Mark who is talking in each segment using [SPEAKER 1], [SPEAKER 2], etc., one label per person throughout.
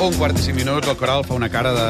[SPEAKER 1] Un quart i cinc minuts, el coral fa una cara de...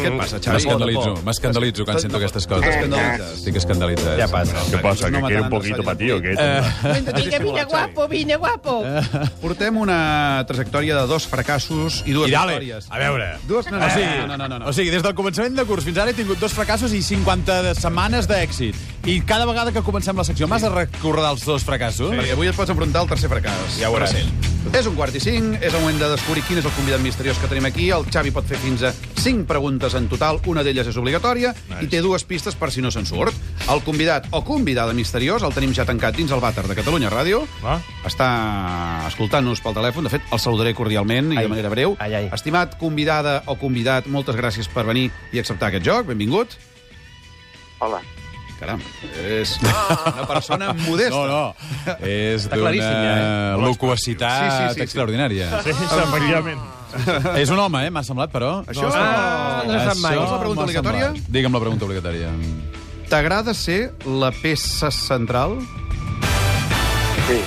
[SPEAKER 1] Què et passa, Xavi?
[SPEAKER 2] Mm. M'escandalitzo, m'escandalitzo quan sento aquestes coses.
[SPEAKER 1] T'escandalitzes.
[SPEAKER 2] Estic escandalitzat.
[SPEAKER 3] Ya pasa.
[SPEAKER 4] ¿Qué pasa?
[SPEAKER 1] No
[SPEAKER 4] ¿Que quiere
[SPEAKER 1] mataran
[SPEAKER 4] un
[SPEAKER 1] los
[SPEAKER 4] poquito para ti o qué?
[SPEAKER 5] Vine, vine, guapo, vine, guapo.
[SPEAKER 1] Eh, Portem una trajectòria de dos fracassos i dues
[SPEAKER 2] I dale,
[SPEAKER 1] victòries.
[SPEAKER 2] a veure. Ah,
[SPEAKER 1] Dues... No, no,
[SPEAKER 2] O sigui,
[SPEAKER 1] Ah, no, no, no, no.
[SPEAKER 2] o sigui, des del començament de curs fins ara he tingut dos fracassos i 50 setmanes d'èxit. I cada vegada que comencem la secció m'has de recordar els dos fracassos?
[SPEAKER 1] Perquè avui et pots enfrontar al tercer fracàs.
[SPEAKER 2] Ja ho veuràs.
[SPEAKER 1] Recent. És un quart i cinc, és el moment de descobrir quin és el convidat misteriós que tenim aquí. El Xavi pot fer fins a cinc preguntes en total, una d'elles és obligatòria, i té dues pistes per si no se'n surt. El convidat o convidada misteriós el tenim ja tancat dins el vàter de Catalunya Ràdio.
[SPEAKER 4] Ah.
[SPEAKER 1] Està escoltant-nos pel telèfon, de fet, el saludaré cordialment i
[SPEAKER 3] Ai.
[SPEAKER 1] de manera breu.
[SPEAKER 3] Ai, ai.
[SPEAKER 1] Estimat convidada o convidat, moltes gràcies per venir i acceptar aquest joc. Benvingut.
[SPEAKER 6] Hola.
[SPEAKER 1] Caram, és una persona modesta.
[SPEAKER 2] No, no. És
[SPEAKER 3] Està claríssim,
[SPEAKER 2] d'una
[SPEAKER 3] ja,
[SPEAKER 2] loquacitat
[SPEAKER 1] eh? Sí, sí, sí, sí.
[SPEAKER 2] extraordinària.
[SPEAKER 4] Sí, efectivament.
[SPEAKER 2] És un home, eh? M'ha semblat, però...
[SPEAKER 1] Això
[SPEAKER 3] No,
[SPEAKER 1] ah,
[SPEAKER 3] no
[SPEAKER 2] Això
[SPEAKER 3] s'ha sap mai.
[SPEAKER 1] És la pregunta
[SPEAKER 2] m'ha
[SPEAKER 1] obligatòria?
[SPEAKER 2] semblat. Digue'm la pregunta obligatòria.
[SPEAKER 1] T'agrada ser la peça central?
[SPEAKER 6] Sí.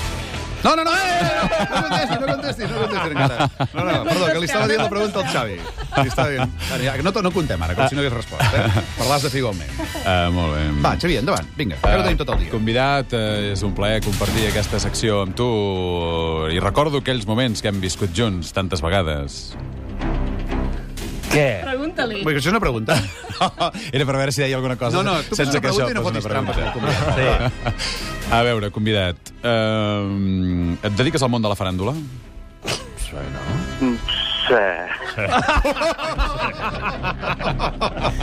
[SPEAKER 1] No, no, no! Eh, no contestis, no contestis, no contestis encara. No, no, perdó, que li estava dient la pregunta al Xavi. Li estava dient. Ara, ja, No, no contem ara, com si no hagués respost. Eh? Parlàs de figualment.
[SPEAKER 2] Uh, molt bé.
[SPEAKER 1] Va, Xavi, endavant. Vinga, que ara ho tenim tot el dia.
[SPEAKER 2] Convidat, eh, és un plaer compartir aquesta secció amb tu eh, i recordo aquells moments que hem viscut junts tantes vegades.
[SPEAKER 3] Què?
[SPEAKER 5] Pregunta-li.
[SPEAKER 1] Vull dir, Això és una pregunta.
[SPEAKER 2] Era per veure si deia alguna cosa
[SPEAKER 1] No, no, tu fas
[SPEAKER 2] sense
[SPEAKER 1] una
[SPEAKER 2] que això
[SPEAKER 1] pregunta i no
[SPEAKER 2] fos una
[SPEAKER 1] fotis trampes.
[SPEAKER 2] pregunta.
[SPEAKER 1] al convidat.
[SPEAKER 2] A veure, convidat, eh, et dediques al món de la faràndula?
[SPEAKER 6] Sí.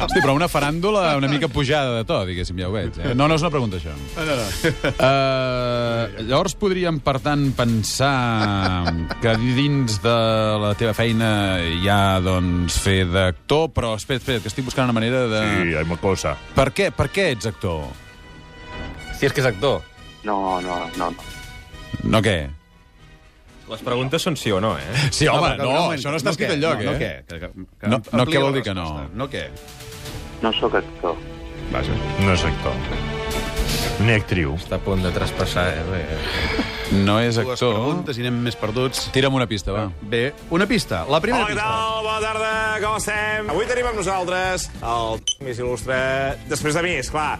[SPEAKER 2] Hosti, però una faràndula una mica pujada de to, diguéssim, ja ho veig. Eh? No, no és una pregunta, això. No, no, no. Uh, llavors podríem, per tant, pensar que dins de la teva feina hi ha, doncs, fer d'actor, però espera, espera, que estic buscant una manera de...
[SPEAKER 4] Sí, hay cosa.
[SPEAKER 2] Per què? Per què ets actor?
[SPEAKER 3] Si és que és actor.
[SPEAKER 6] No, no, no. no.
[SPEAKER 2] No què?
[SPEAKER 7] Les preguntes són sí o no, eh?
[SPEAKER 2] Sí, home,
[SPEAKER 1] però
[SPEAKER 2] no,
[SPEAKER 1] un moment.
[SPEAKER 2] això no està escrit
[SPEAKER 1] què,
[SPEAKER 2] enlloc, eh?
[SPEAKER 1] No, què? Que, que, que
[SPEAKER 2] No-
[SPEAKER 1] amplia
[SPEAKER 2] no, què
[SPEAKER 1] la
[SPEAKER 2] vol dir que no?
[SPEAKER 1] resposta. No què?
[SPEAKER 6] No sóc actor.
[SPEAKER 1] Vaja.
[SPEAKER 4] No és actor. Ni actriu.
[SPEAKER 3] Està a punt de traspassar, eh?
[SPEAKER 2] No és
[SPEAKER 1] Dues
[SPEAKER 2] actor.
[SPEAKER 1] preguntes i anem més perduts.
[SPEAKER 2] Tira'm una pista, va.
[SPEAKER 1] Bé, una pista. La primera
[SPEAKER 8] Hola, què
[SPEAKER 1] pista.
[SPEAKER 8] tal? Bona tarda, com estem? Avui tenim amb nosaltres el més il·lustre... Després de mi, esclar.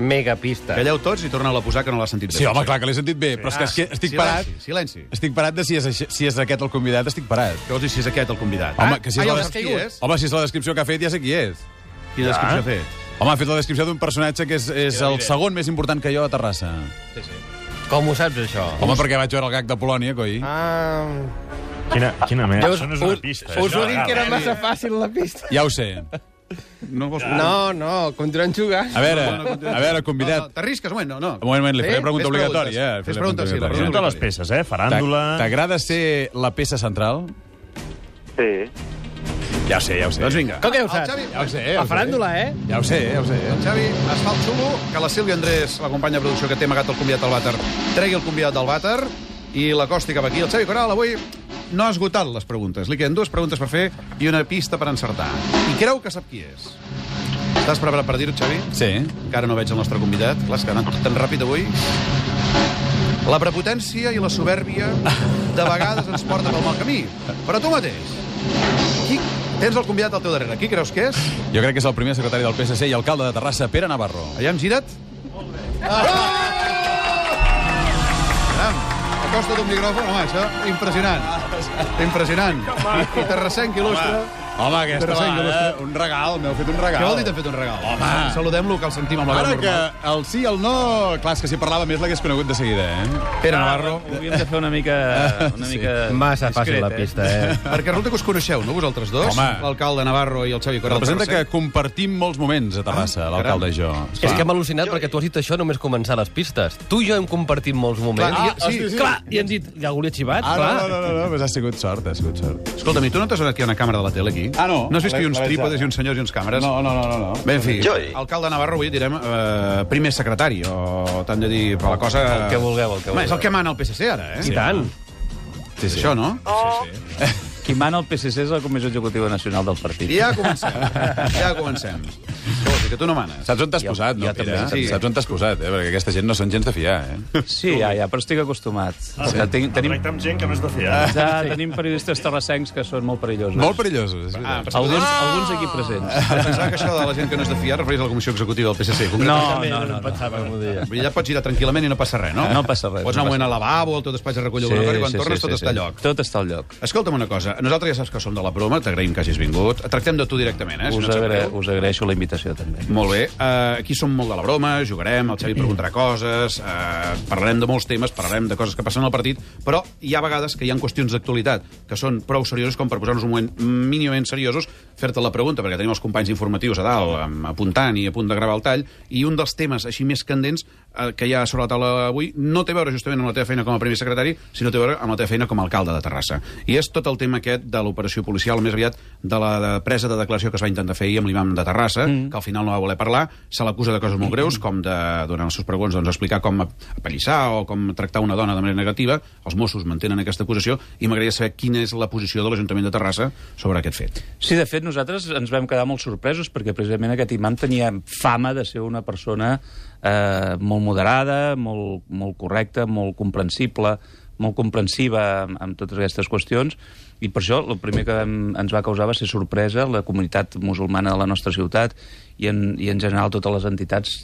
[SPEAKER 3] Megapista.
[SPEAKER 1] Calleu tots i torna a posar, que no l'ha sentit bé.
[SPEAKER 2] Sí, Ah, home, clar, que l'he sentit bé, però és que, és que estic
[SPEAKER 1] silenci,
[SPEAKER 2] parat...
[SPEAKER 1] Silenci.
[SPEAKER 2] Estic parat de si és, així- si és aquest el convidat, estic parat.
[SPEAKER 1] Què vols dir si és aquest el convidat?
[SPEAKER 2] Home, que si
[SPEAKER 1] ah,
[SPEAKER 2] és
[SPEAKER 1] ja ho
[SPEAKER 2] la
[SPEAKER 1] saps qui
[SPEAKER 2] descripció,
[SPEAKER 1] és?
[SPEAKER 2] home, si és la descripció que ha fet, ja sé qui és.
[SPEAKER 1] Quina descripció ha fet?
[SPEAKER 2] Home, ha fet la descripció d'un personatge que és, és el segon més important que jo a Terrassa.
[SPEAKER 3] Com ho saps, això?
[SPEAKER 2] Home, perquè vaig veure el gag de Polònia, coi.
[SPEAKER 3] Ah,
[SPEAKER 4] Quina, quina merda.
[SPEAKER 3] ja us,
[SPEAKER 4] Això no és
[SPEAKER 3] us-
[SPEAKER 4] una pista. eh?
[SPEAKER 3] us
[SPEAKER 4] això,
[SPEAKER 3] ho dic que era
[SPEAKER 4] ara.
[SPEAKER 3] massa fàcil, la pista.
[SPEAKER 2] Ja ho sé.
[SPEAKER 1] No vols...
[SPEAKER 3] No, no, continuem jugant.
[SPEAKER 2] A veure,
[SPEAKER 1] No, no, no,
[SPEAKER 2] a veure,
[SPEAKER 1] no,
[SPEAKER 2] convidat...
[SPEAKER 1] T'arrisques, un moment, no,
[SPEAKER 2] Un
[SPEAKER 1] no.
[SPEAKER 2] moment, un moment, li
[SPEAKER 1] Eh?
[SPEAKER 2] faré
[SPEAKER 1] Fes
[SPEAKER 2] pregunta obligatòria.
[SPEAKER 1] preguntes. Fes
[SPEAKER 2] eh? Faré
[SPEAKER 1] preguntes, sí, la
[SPEAKER 2] obligatòria.
[SPEAKER 1] pregunta
[SPEAKER 4] Totes les peces, eh? Faràndula...
[SPEAKER 2] T'a- T'agrada ser la peça central?
[SPEAKER 6] Sí.
[SPEAKER 2] Ja ho sé, ja ho sé.
[SPEAKER 1] Doncs vinga.
[SPEAKER 3] Com que ho
[SPEAKER 1] El
[SPEAKER 3] saps?
[SPEAKER 1] Xavi,
[SPEAKER 2] Ja ho sé, ja
[SPEAKER 3] La
[SPEAKER 2] ho sé.
[SPEAKER 3] faràndula, eh?
[SPEAKER 2] Ja ho sé, ja ho sé. eh?
[SPEAKER 1] el Xavi es fa el xulo, que la Sílvia Andrés, la companya de producció que té amagat el convidat al vàter, tregui el convidat del vàter i l'acosti cap aquí. El Xavi Coral avui no ha esgotat les preguntes. Li queden dues preguntes per fer i una pista per encertar. I creu que sap qui és. Estàs preparat per dir-ho, Xavi?
[SPEAKER 2] Sí.
[SPEAKER 1] Encara no veig el nostre convidat. Clar, és que ha anat tan ràpid avui. La prepotència i la soberbia de vegades ens porten pel mal camí. Però tu mateix, qui... tens el convidat al teu darrere. Qui creus que és?
[SPEAKER 2] Jo crec que és el primer secretari del PSC i alcalde de Terrassa, Pere Navarro.
[SPEAKER 1] Allà hem gira't? Molt bé. Ah! A costa d'un micròfon, home, això, impressionant. Impressionant. I terrassenc il·lustre.
[SPEAKER 2] Home, aquesta
[SPEAKER 1] Terrassa
[SPEAKER 2] vegada, un regal, m'heu fet un regal.
[SPEAKER 1] Què vol dir t'ha fet un regal?
[SPEAKER 2] Home.
[SPEAKER 1] Saludem-lo, que el sentim amb la
[SPEAKER 2] Ara
[SPEAKER 1] veu
[SPEAKER 2] que
[SPEAKER 1] normal.
[SPEAKER 2] el sí i el no... Clar, és que si parlava més l'hagués conegut de seguida, eh?
[SPEAKER 1] Pere Navarro.
[SPEAKER 7] Hauríem de fer una mica... Una mica
[SPEAKER 3] Massa fàcil, la
[SPEAKER 7] discret, eh?
[SPEAKER 3] pista, eh?
[SPEAKER 1] Perquè resulta que us coneixeu, no, vosaltres dos?
[SPEAKER 2] Home.
[SPEAKER 1] L'alcalde Navarro i el Xavi Corral.
[SPEAKER 2] Representa que
[SPEAKER 1] Terrassenc.
[SPEAKER 2] compartim molts moments a Terrassa, l'alcalde i jo.
[SPEAKER 3] És que hem al·lucinat perquè tu has dit això només començar les pistes. Tu i jo hem compartit molts moments.
[SPEAKER 1] Clar,
[SPEAKER 3] Clar,
[SPEAKER 1] ah,
[SPEAKER 3] i,
[SPEAKER 1] sí, sí.
[SPEAKER 3] clar, i hem dit, hi ha algú li ha xivat?
[SPEAKER 2] Ah,
[SPEAKER 3] clar.
[SPEAKER 2] no, no, no, no, no, ha sigut sort, ha sigut sort.
[SPEAKER 1] Escolta'm, i tu no t'has donat que hi ha una càmera de la tele aquí?
[SPEAKER 2] Ah, no.
[SPEAKER 1] No has vist que hi ha uns
[SPEAKER 2] L'he- l'he
[SPEAKER 1] trípodes
[SPEAKER 2] vist.
[SPEAKER 1] i uns senyors i uns càmeres?
[SPEAKER 2] No, no, no, no. no.
[SPEAKER 1] Bé, en fi,
[SPEAKER 6] Joy.
[SPEAKER 1] alcalde Navarro, avui direm eh, primer secretari, o t'han de dir per la cosa...
[SPEAKER 3] El que vulgueu, el que
[SPEAKER 1] Home, és el
[SPEAKER 3] vulgueu.
[SPEAKER 1] que mana el PSC, ara, eh?
[SPEAKER 3] I tant.
[SPEAKER 1] Sí, sí. Això, no?
[SPEAKER 7] Qui mana el PSC és la Comissió Executiva Nacional del Partit.
[SPEAKER 1] I ja comencem. ja comencem. Què vols dir, que tu no manes.
[SPEAKER 2] Saps on t'has posat, no,
[SPEAKER 3] jo també,
[SPEAKER 2] Pere?
[SPEAKER 1] sí.
[SPEAKER 2] Saps on t'has posat, eh? Perquè aquesta gent no són gens de fiar, eh?
[SPEAKER 9] Sí, ja, ja, però estic acostumat. Ah, sí. Ten
[SPEAKER 4] Tenim... Ah,
[SPEAKER 9] tenim,
[SPEAKER 4] Tracta amb gent que no és de fiar.
[SPEAKER 9] ja, tenim periodistes terrassencs que són molt perillosos.
[SPEAKER 2] Molt perillosos. és veritat.
[SPEAKER 9] Alguns, ah! alguns aquí presents.
[SPEAKER 1] Pensava que això de la gent que no és de fiar refereix a la comissió executiva del PSC. Ah, concretament.
[SPEAKER 9] No, no, no. no, no.
[SPEAKER 1] Vull dir, Allà pots girar tranquil·lament i no passa res, no?
[SPEAKER 9] No passa res,
[SPEAKER 1] Pots
[SPEAKER 9] no
[SPEAKER 1] anar un
[SPEAKER 9] passa
[SPEAKER 1] moment al lavabo, al teu despatx a recollir sí, i quan sí, tornes sí, tot sí, està a lloc.
[SPEAKER 9] Tot està al lloc.
[SPEAKER 1] Escolta'm una cosa, nosaltres ja saps que som de la broma, t'agraïm que hagis vingut. Tractem de tu directament, eh?
[SPEAKER 9] Us,
[SPEAKER 1] et sap
[SPEAKER 9] agra
[SPEAKER 1] greu.
[SPEAKER 9] us agraeixo la invitació, també.
[SPEAKER 1] Molt bé, uh, aquí som molt de la broma, jugarem, el Xavi preguntarà coses, uh, parlarem de molts temes, parlarem de coses que passen al partit, però hi ha vegades que hi ha qüestions d'actualitat que són prou serioses com per posar-nos un moment mínimament seriosos, fer-te la pregunta, perquè tenim els companys informatius a dalt em, apuntant i a punt de gravar el tall, i un dels temes així més candents eh, que hi ha sobre la taula avui no té a veure justament amb la teva feina com a primer secretari, sinó té a veure amb la teva feina com a alcalde de Terrassa. I és tot el tema aquest de l'operació policial, més aviat de la de- presa de declaració que es va intentar fer ahir amb l'imam de Terrassa, mm. que al final no va voler parlar, se l'acusa de coses molt greus,
[SPEAKER 9] Mm.
[SPEAKER 1] com de, durant els seus pregons, doncs, explicar com apallissar o com tractar una dona de manera negativa. Els Mossos mantenen aquesta acusació i m'agradaria saber quina és la posició de l'Ajuntament de Terrassa sobre aquest fet.
[SPEAKER 9] Sí, de fet, nosaltres ens vam quedar molt sorpresos perquè precisament aquest imam tenia fama de ser una persona eh, molt moderada, molt, molt correcta, molt comprensible, molt comprensiva amb, amb totes aquestes qüestions i per això el primer que vam, ens va causar va ser sorpresa la comunitat musulmana de la nostra ciutat i en, i en general totes les entitats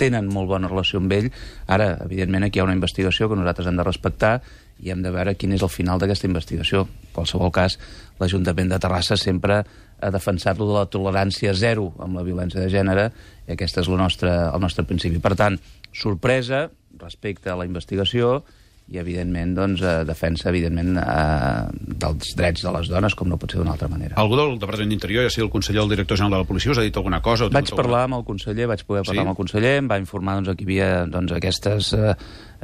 [SPEAKER 9] tenen molt bona relació amb ell. Ara, evidentment, aquí hi ha una investigació que nosaltres hem de respectar i hem de veure quin és el final d'aquesta investigació. En qualsevol cas, l'Ajuntament de Terrassa sempre ha defensat lo de la tolerància zero amb la violència de gènere i aquest és el nostre, el nostre principi. Per tant, sorpresa respecte a la investigació i, evidentment, doncs, eh, defensa evidentment eh, dels drets de les dones, com no pot ser d'una altra manera.
[SPEAKER 1] Algú del Departament d'Interior, ja sigui el conseller o el director general de la policia, us ha dit alguna cosa? o ha
[SPEAKER 9] Vaig
[SPEAKER 1] tingut alguna-
[SPEAKER 9] parlar amb el conseller, vaig poder parlar
[SPEAKER 1] Sí?
[SPEAKER 9] sí? amb el conseller, em va informar doncs, que hi havia doncs, aquestes, eh,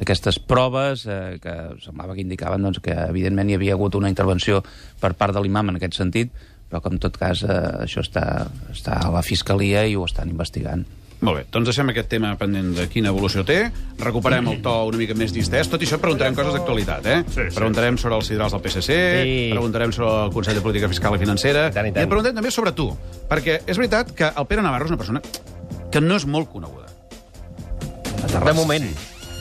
[SPEAKER 9] aquestes proves eh, que semblava que indicaven doncs, que evidentment hi havia hagut una intervenció per part de l'imam en aquest sentit, però que en tot cas eh, això està, està a la fiscalia i ho estan investigant.
[SPEAKER 1] Molt bé, doncs deixem aquest tema pendent de quina evolució té, recuperem el to una mica més distès, tot i això preguntarem coses d'actualitat, eh?
[SPEAKER 4] Sí, sí.
[SPEAKER 1] Preguntarem sobre els sidrals del PSC,
[SPEAKER 7] Sí.
[SPEAKER 1] preguntarem sobre el Consell de Política Fiscal i Financera,
[SPEAKER 7] tant, i tant.
[SPEAKER 1] i et preguntem també sobre tu, perquè és veritat que el Pere Navarro és una persona que no és molt coneguda.
[SPEAKER 3] De moment.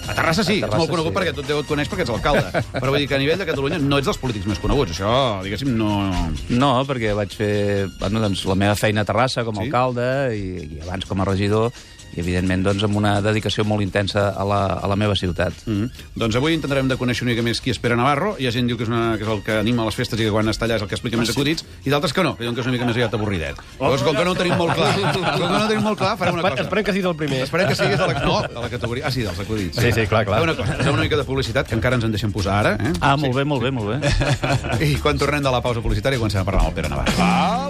[SPEAKER 1] A Terrassa sí,
[SPEAKER 9] A
[SPEAKER 1] és
[SPEAKER 9] Terrassa
[SPEAKER 1] molt conegut
[SPEAKER 9] sí.
[SPEAKER 1] perquè tu et coneix perquè ets alcalde, però vull dir que a nivell de Catalunya no ets dels polítics més coneguts, això, diguéssim, no...
[SPEAKER 9] No, perquè vaig fer bueno, doncs, la meva feina a Terrassa com a
[SPEAKER 1] Sí?
[SPEAKER 9] alcalde i, i abans com a regidor i, evidentment, doncs, amb una dedicació molt intensa a la, a la meva ciutat.
[SPEAKER 1] Mm -hmm. Doncs avui intentarem de conèixer una mica més qui és Pere Navarro. Hi ha gent que diu que és, una, que és el que anima les festes i que quan està allà és el que explica més
[SPEAKER 9] Ah,
[SPEAKER 1] acudits, i d'altres que no, que diuen que és una mica més aviat avorridet. Llavors, com que no ho tenim molt clar, com que no ho tenim molt clar, farem una cosa.
[SPEAKER 7] Esperem que sigui el primer.
[SPEAKER 1] Esperem que siguis de la, no, de la categoria... Ah, sí, dels acudits.
[SPEAKER 7] Sí, sí, clar, clar.
[SPEAKER 1] Fem una cosa, posem una mica de publicitat, que encara ens en deixen posar ara, eh?
[SPEAKER 9] Ah, molt bé, molt bé, molt bé.
[SPEAKER 1] I quan tornem de la pausa publicitària comencem a parlar amb el Pere Navarro. Ah!